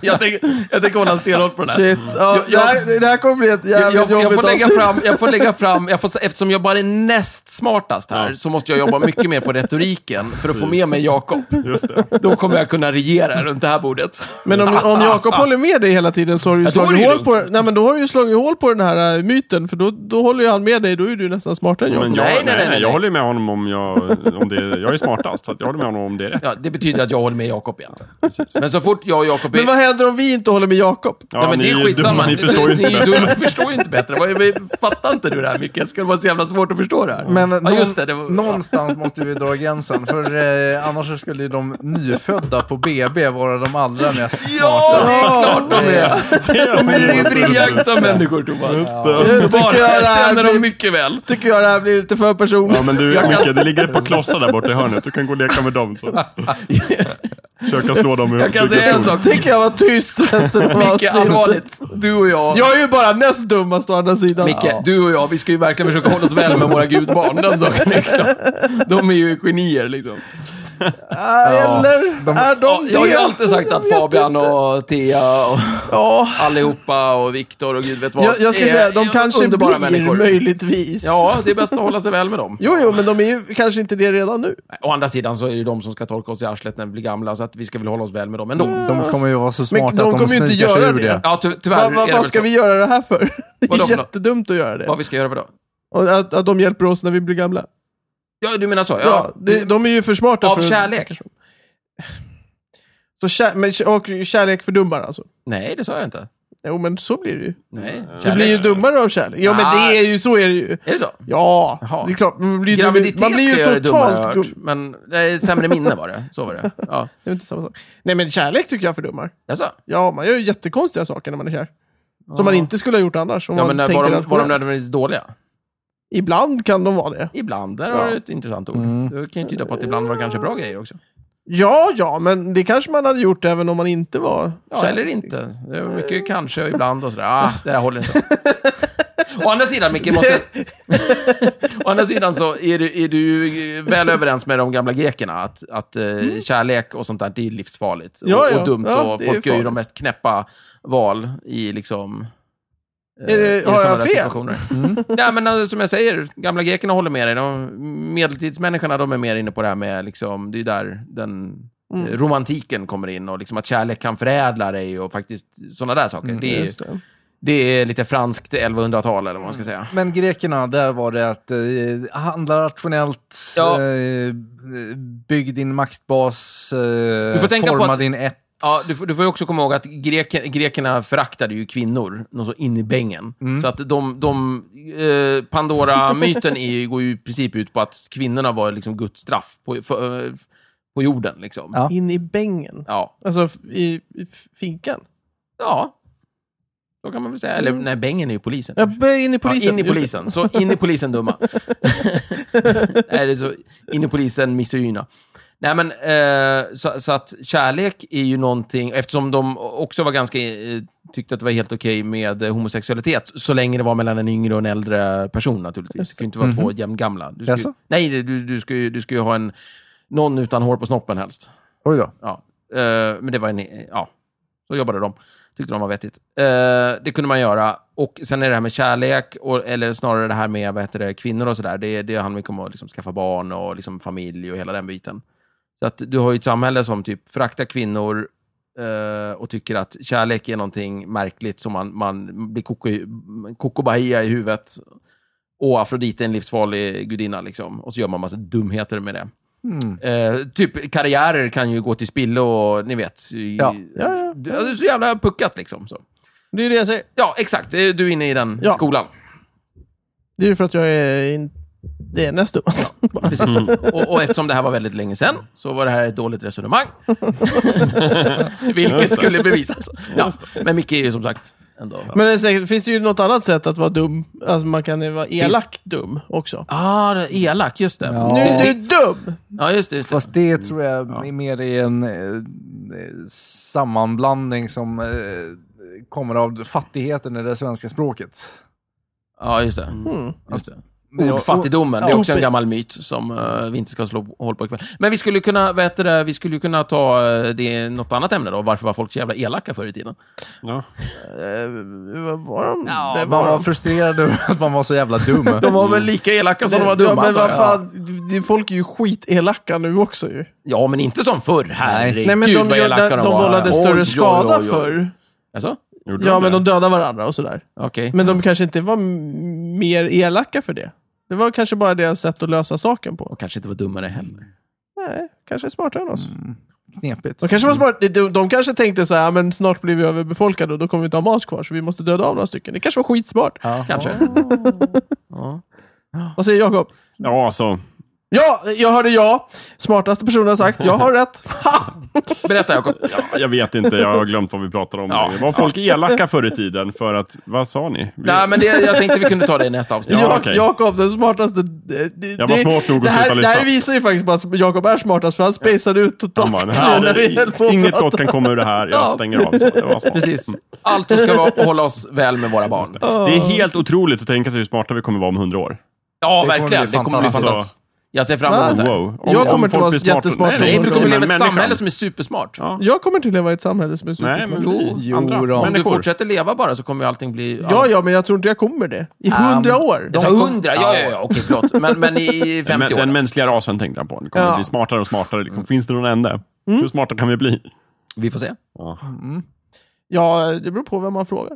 S2: jag, tänker, jag tänker hålla stenhårt på den här.
S4: Shit, ja,
S2: Mm. Jag-
S4: det, här, det här kommer bli ett
S2: jag,
S4: jävligt
S2: jag, jag,
S4: jobbigt
S2: får lägga
S4: avsnitt.
S2: fram, jag får lägga fram, jag får, eftersom jag bara är näst smartast här,
S3: Ja.
S2: så måste jag jobba mycket mer på retoriken för att få med mig Jakob. (laughs)
S3: Just det.
S2: Då kommer jag kunna regera runt det här bordet.
S4: Men om,
S2: (laughs)
S4: om Jakob håller med dig hela tiden så har du ju
S2: Ja, då är
S4: slagit,
S2: det ju
S4: hål, på, nej, men då har du ju slagit hål på den här äh, myten, för då, då håller ju han med dig, då är du nästan smartare än jag.
S3: Men jag,
S2: Nej,
S3: nej,
S2: nej, nej, nej.
S3: jag håller med honom om jag, om det, jag är smartast, så att jag håller med honom om det är rätt.
S2: Ja, det betyder att jag håller med Jakob egentligen. Men så fort jag och Jakob är...
S4: Men vad händer om vi inte håller med Jakob?
S3: Ja,
S2: ja, men det är
S3: ju
S2: skitsamma.
S3: dumma, ni förstår ju
S2: ni,
S3: inte
S2: ni
S3: bättre.
S2: dumma förstår ju inte bättre. Vad är- vi- Fattar inte du det här Micke? Ska det vara så jävla svårt att förstå det här?
S1: Men
S2: ja,
S1: någon,
S2: just det. det var,
S1: någonstans måste vi dra gränsen, för eh, annars så skulle ju de nyfödda på BB vara de allra mest
S2: Ja,
S1: smarta. Eh,
S2: det är klart de är. De är ju briljanta människor, Thomas.
S3: Ja.
S4: Jag
S2: Bara,
S4: tycker jag det
S2: jag
S4: här
S2: känner dem
S4: blir,
S2: mycket väl.
S4: tycker jag det här blir lite för personligt.
S3: Ja, men du
S2: Jag kan-
S3: Micke, det ligger ett par klossar där borta i hörnet. Du kan gå och leka med
S2: (laughs)
S3: dem. Så. Försöka slå dem i
S2: Jag kan säga en sak.
S4: Tänker (laughs) jag vara tyst resten av
S2: Micke,
S4: avsnittet.
S2: allvarligt. Du och jag.
S4: Jag är ju bara näst dummast å andra sidan.
S2: Micke, du och jag, vi ska ju verkligen försöka hålla oss väl med våra gudbarn. Den saken är klar. De är ju genier liksom.
S4: Ah, Eller
S1: de-
S4: är de
S2: Ja,
S4: det?
S2: jag har ju alltid sagt att Fabian och Thea och (laughs)
S4: Ja,
S2: allihopa och Viktor och gud vet vad.
S4: jag, jag ska
S2: är-
S4: säga, de
S2: är
S4: kanske blir
S2: underbara människor.
S4: möjligtvis.
S2: Ja, det är bäst att hålla sig väl med dem.
S4: Jo, jo, men de är ju kanske inte det redan nu.
S2: Nej, Å andra sidan så är det ju de som ska torka oss i arslet när vi blir gamla, så att vi ska väl hålla oss väl med dem ändå.
S1: De kommer ju vara så
S4: Men
S1: smarta
S4: de
S1: att de
S4: kommer ju inte
S1: snikar sig
S4: göra
S1: ur
S4: det.
S1: det.
S2: Ja, ty tyvärr
S4: Mm. Vad
S2: är
S4: va,
S2: det
S4: vad
S2: väl
S4: ska
S2: så.
S4: vi göra det här för? (laughs) Det
S2: Vadå
S4: är
S2: för nå-
S4: jättedumt att göra det.
S2: Vad vi ska göra för då?
S4: Och att, att de hjälper oss när vi blir gamla.
S2: Ja, du menar så? Ja.
S4: Ja, det, de är ju för smarta
S2: Av
S4: för...
S2: kärlek?
S4: Så kär, men, kär- och kärlek fördummar alltså?
S2: Nej, det sa jag inte.
S4: Jo, men så blir det ju.
S2: Nej,
S4: Du
S2: kärlek.
S4: blir ju dummare av kärlek. Ja, men det är ju så är det ju.
S2: Är det så?
S4: Ja,
S2: Jaha.
S4: det är klart. Man blir, ju-
S2: Graviditet
S4: man blir
S2: gör det
S4: ju
S2: dummare, har jag
S4: totalt
S2: hört,
S4: gum...
S2: Men det är sämre minne var det. Så var det. Ja.
S4: Det är inte samma sak. Nej, men kärlek tycker jag fördummar.
S2: Jaså?
S4: Ja, man gör ju jättekonstiga saker när man är kär. Som man inte skulle ha gjort annars. Om
S2: Ja,
S4: man
S2: men eh,
S4: tänker
S2: var de, var de
S4: rationellt.
S2: nödvändigtvis dåliga?
S4: Ibland kan de vara det.
S2: Ibland, där
S4: Ja. Mm.
S2: har du ett intressant ord. Det kan ju tyda på att ibland var det kanske bra grejer också.
S4: Ja, ja, men det kanske man hade gjort även om man inte var
S2: Ja, eller inte. Det är mycket kanske och ibland och sådär. Ah, det där håller inte. Å andra sidan, Micke, måste... Å andra sidan så är du, är du ju väl överens med de gamla grekerna att, att eh, kärlek och sånt där, det är livsfarligt. Och,
S4: Mm. Ja, ja.
S2: och dumt.
S4: Ja,
S2: och
S4: det är
S2: folk gör ju
S4: farligt.
S2: de mest knäppa val i liksom... eh,
S4: Är det-
S2: i
S4: har jag
S2: sådana där
S4: fel? Mm.
S2: situationer. Nej, men eh, som jag säger, gamla grekerna håller med dig. De, medeltidsmänniskorna, de är mer inne på det här med, liksom, det är ju där den eh, romantiken kommer in och liksom att kärlek kan förädla dig och faktiskt sådana där saker. det, är,
S4: Just det.
S2: det är lite franskt 1100-tal eller vad man ska säga.
S1: Men grekerna, där var det att eh, handla rationellt,
S2: Ja.
S1: eh, bygg din maktbas, eh, du
S2: får tänka på
S1: forma
S2: att-
S1: din ett.
S2: Ja, du, får- du får ju också komma ihåg att greke, grekerna föraktade ju kvinnor något så in i bängen. Så att de, de eh, Pandora-myten är ju- går ju i princip ut på att kvinnorna var liksom Guds straff på, för, eh, på jorden. Liksom.
S1: Ja.
S4: In i bängen.
S2: Ja.
S4: Alltså f- i, i finkan.
S2: ja, så kan man väl säga. Eller nej, bängen är ju polisen.
S4: Ja, b- in i polisen.
S2: Ja, in i
S4: just det.
S2: polisen. Så in i polisen
S4: (laughs)
S2: dumma. Nej, det är så, in i polisen misogyna. Nej, men eh, så, så att kärlek är ju någonting, eftersom de också var ganska, eh, tyckte att det var helt okej med eh, homosexualitet, så länge det var mellan en yngre och en äldre person naturligtvis. Det kan ju inte vara två
S4: Mhm.
S2: jämngamla. Du ska ju,
S1: Jaså?
S2: nej, det- du, du, ska ju, du ska ju ha en, någon utan hår på snoppen helst.
S1: Oj då.
S2: Ja. Eh, men det var en... Ja, så jobbade de. Tyckte de var vettigt. Eh, det kunde man göra. Och sen är det här med kärlek, och, eller snarare det här med vad heter det, kvinnor och sådär. Det, det handlar mycket om att liksom skaffa barn och liksom familj och hela den biten. Så att du har ju ett samhälle som typ föraktar kvinnor eh, och tycker att kärlek är någonting märkligt som man, man blir koko, koko bahia i huvudet. Och Afrodite är en livsfarlig gudinna liksom. Och så gör man massa dumheter med det.
S4: Mm.
S2: Eh, typ karriärer kan ju gå till spillo och ni vet. i-
S1: Ja.
S4: Ja, ja.
S2: Du, ja, det är så jävla puckat liksom. Så.
S4: Det är ju det jag säger.
S2: Ja, exakt. Det är- Du är inne i den
S4: Ja.
S2: skolan.
S4: Det är ju för att jag är... In... Det är näst dummast. Bara.
S2: Precis. Och, och eftersom det här var väldigt länge sedan så var det här ett dåligt (laughs) resonemang. Vilket skulle bevisas. Ja. Men Micke är ju som sagt ändå...
S4: (laughs) Men det är säkert, finns det ju något annat sätt att vara dum? Alltså man kan ju vara elakt dum också.
S2: Ah, det är elak. Just det.
S1: Ja.
S4: Nu är du dum!
S2: Ja, just det. Just det.
S1: Fast det tror jag är mer är en eh, sammanblandning som eh, kommer av fattigheten i det svenska språket.
S2: Ja, just det.
S4: Mm.
S2: Just det.
S1: Men jag-
S2: Fattigdomen, det är
S1: Ja.
S2: också en gammal myt som eh, vi inte ska slå hål på ikväll. Men vi skulle kunna, vad heter det, vi skulle ju kunna ta eh, det, något annat ämne då. Varför var folk så jävla elaka förr i tiden?
S3: Ja.
S4: Eh, vad var de? det
S1: Man var frustrerad över att man var så jävla dum.
S2: De var väl lika elaka som de var dumma?
S4: Ja, men
S2: antar jag.
S4: vad fan, det- folk är ju skitelaka nu också ju.
S2: Ja, men inte som förr. Herregud,
S4: Nej, men de,
S2: vad
S4: gjorde-
S2: elaka de,
S4: de
S2: var.
S4: vållade
S2: Oj,
S4: större
S2: oj, oj,
S4: skada
S2: oj.
S4: förr.
S2: Alltså?
S3: Gjorde
S4: Ja,
S3: de
S4: men
S3: det?
S4: de dödade varandra och sådär.
S2: Okej.
S4: Men de kanske inte var m- mer elaka för det. Det var kanske bara deras sätt att lösa saken på.
S2: Och kanske inte var dummare heller.
S4: Nej, kanske är smartare än oss.
S2: Mm.
S1: Knepigt.
S4: De kanske var smart. De, de kanske tänkte så här, "Ja, men snart blir vi överbefolkade och då kommer vi inte ha mat kvar så vi måste döda av några stycken. Det kanske var skitsmart.
S1: (laughs) Ja.
S2: Kanske. Ja.
S4: Vad säger Jakob?
S3: Ja, alltså.
S4: Ja, jag hörde ja. Smartaste personen har sagt, jag har rätt. (laughs) Ha!
S2: Berätta, Jakob.
S3: Ja, jag vet inte, jag har glömt vad vi pratade om.
S2: Ja.
S3: Var folk elaka förr i tiden för att, vad sa ni? Vi,
S2: Nej, men det, jag tänkte vi kunde ta det i nästa avsnitt.
S3: Ja.
S4: Ja,
S3: okej.
S4: Jakob, den smartaste... Det, det-
S3: Jag var smart nog att
S4: det
S3: sluta
S4: här, det
S3: lyssna.
S4: här visar ju faktiskt bara att Jakob är smartast, för han spejsade ut totalt
S3: Han bara, nej,
S4: nu när vi höll på att
S3: inget
S4: prata.
S3: gott kan komma ur det här,
S2: Ja.
S3: jag stänger av. Så det, var smart.
S2: Precis. Allt ska vara, hålla oss väl med våra barn.
S3: det är helt otroligt att tänka sig hur smarta vi kommer vara om hundra år.
S2: Ja,
S1: Det kommer
S2: verkligen.
S1: bli
S2: Det kommer bli
S1: fantastiskt.
S2: fantastiskt. Jag ser fram emot det. här.
S3: Wow. Om,
S4: Jag kommer inte
S3: folk
S4: vara
S3: blir smarta-
S4: jättesmart
S3: Nej,
S4: om
S2: Nej,
S3: nej,
S2: för
S4: hundra
S2: det
S4: år.
S2: kommer leva i ett
S3: Människan.
S2: samhälle som är supersmart.
S3: Ja.
S4: Jag kommer inte leva i ett samhälle som är
S3: Nej,
S4: supersmart.
S3: men
S2: Jo,
S3: jo, andra
S1: jo då.
S2: Om du
S3: människor.
S2: fortsätter leva bara så kommer ju allting bli...
S4: Ja, ja, men jag tror inte jag kommer det. I hundra år.
S2: Jag sa hundra, ja, ja, ja, okej, förlåt. Men, men i 50
S3: Men,
S2: år.
S3: den mänskliga rasen tänkte jag på. Den kommer
S4: Ja. Mm.
S3: bli smartare och smartare. Liksom. Finns det någon ände? Hur smarta kan vi bli?
S2: Vi får se.
S3: Ja.
S4: Ja, det beror på vem man frågar.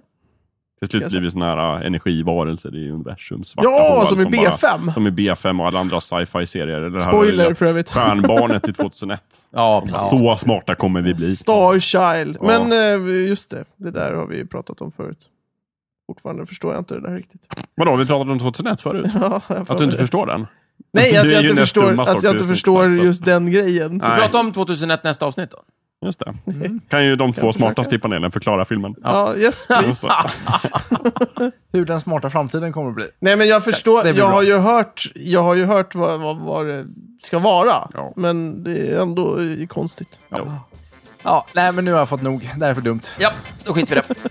S3: Till slut blir vi såna här äh, energivarelser i universums svarta
S4: Ja,
S3: hål
S4: som i B5!
S3: Bara, som i B5 och alla andra sci-fi-serier. Det här
S4: Spoiler
S3: lilla
S4: för övrigt.
S3: Stjärnbarnet i 2001.
S4: (laughs)
S2: Ja, precis.
S3: Så smarta kommer vi bli.
S4: Starchild.
S3: Ja.
S4: Men eh, just det, det där har vi ju pratat om förut. Fortfarande förstår jag inte det där riktigt.
S3: Vadå, vi pratade om 2001 förut?
S4: (laughs) Ja, jag får
S3: Att du inte
S4: det.
S3: förstår den?
S4: Nej,
S3: Du
S4: att
S3: är
S4: jag
S3: ju
S4: inte
S3: näst
S4: förstår,
S3: dummast
S4: att
S3: också
S4: jag inte
S3: i
S4: förstår
S3: snicksnack, så.
S4: just den grejen.
S3: Nej.
S2: Prata om 2001 nästa avsnitt då.
S3: Just det. Kan ju de två
S4: Mm. försöka.
S3: smartaste i panelen förklara filmen.
S4: Ja, yes please.
S1: Hur den smarta framtiden kommer att bli.
S4: Nej, men jag förstår.
S1: Det blir
S4: Jag
S1: bra.
S4: har ju hört, jag har ju hört vad, vad, vad det ska vara.
S3: Ja.
S4: Men det är ändå eh, konstigt.
S1: Ja, nej men nu har jag fått nog. Det här är för dumt.
S2: Ja, då skiter vi i det.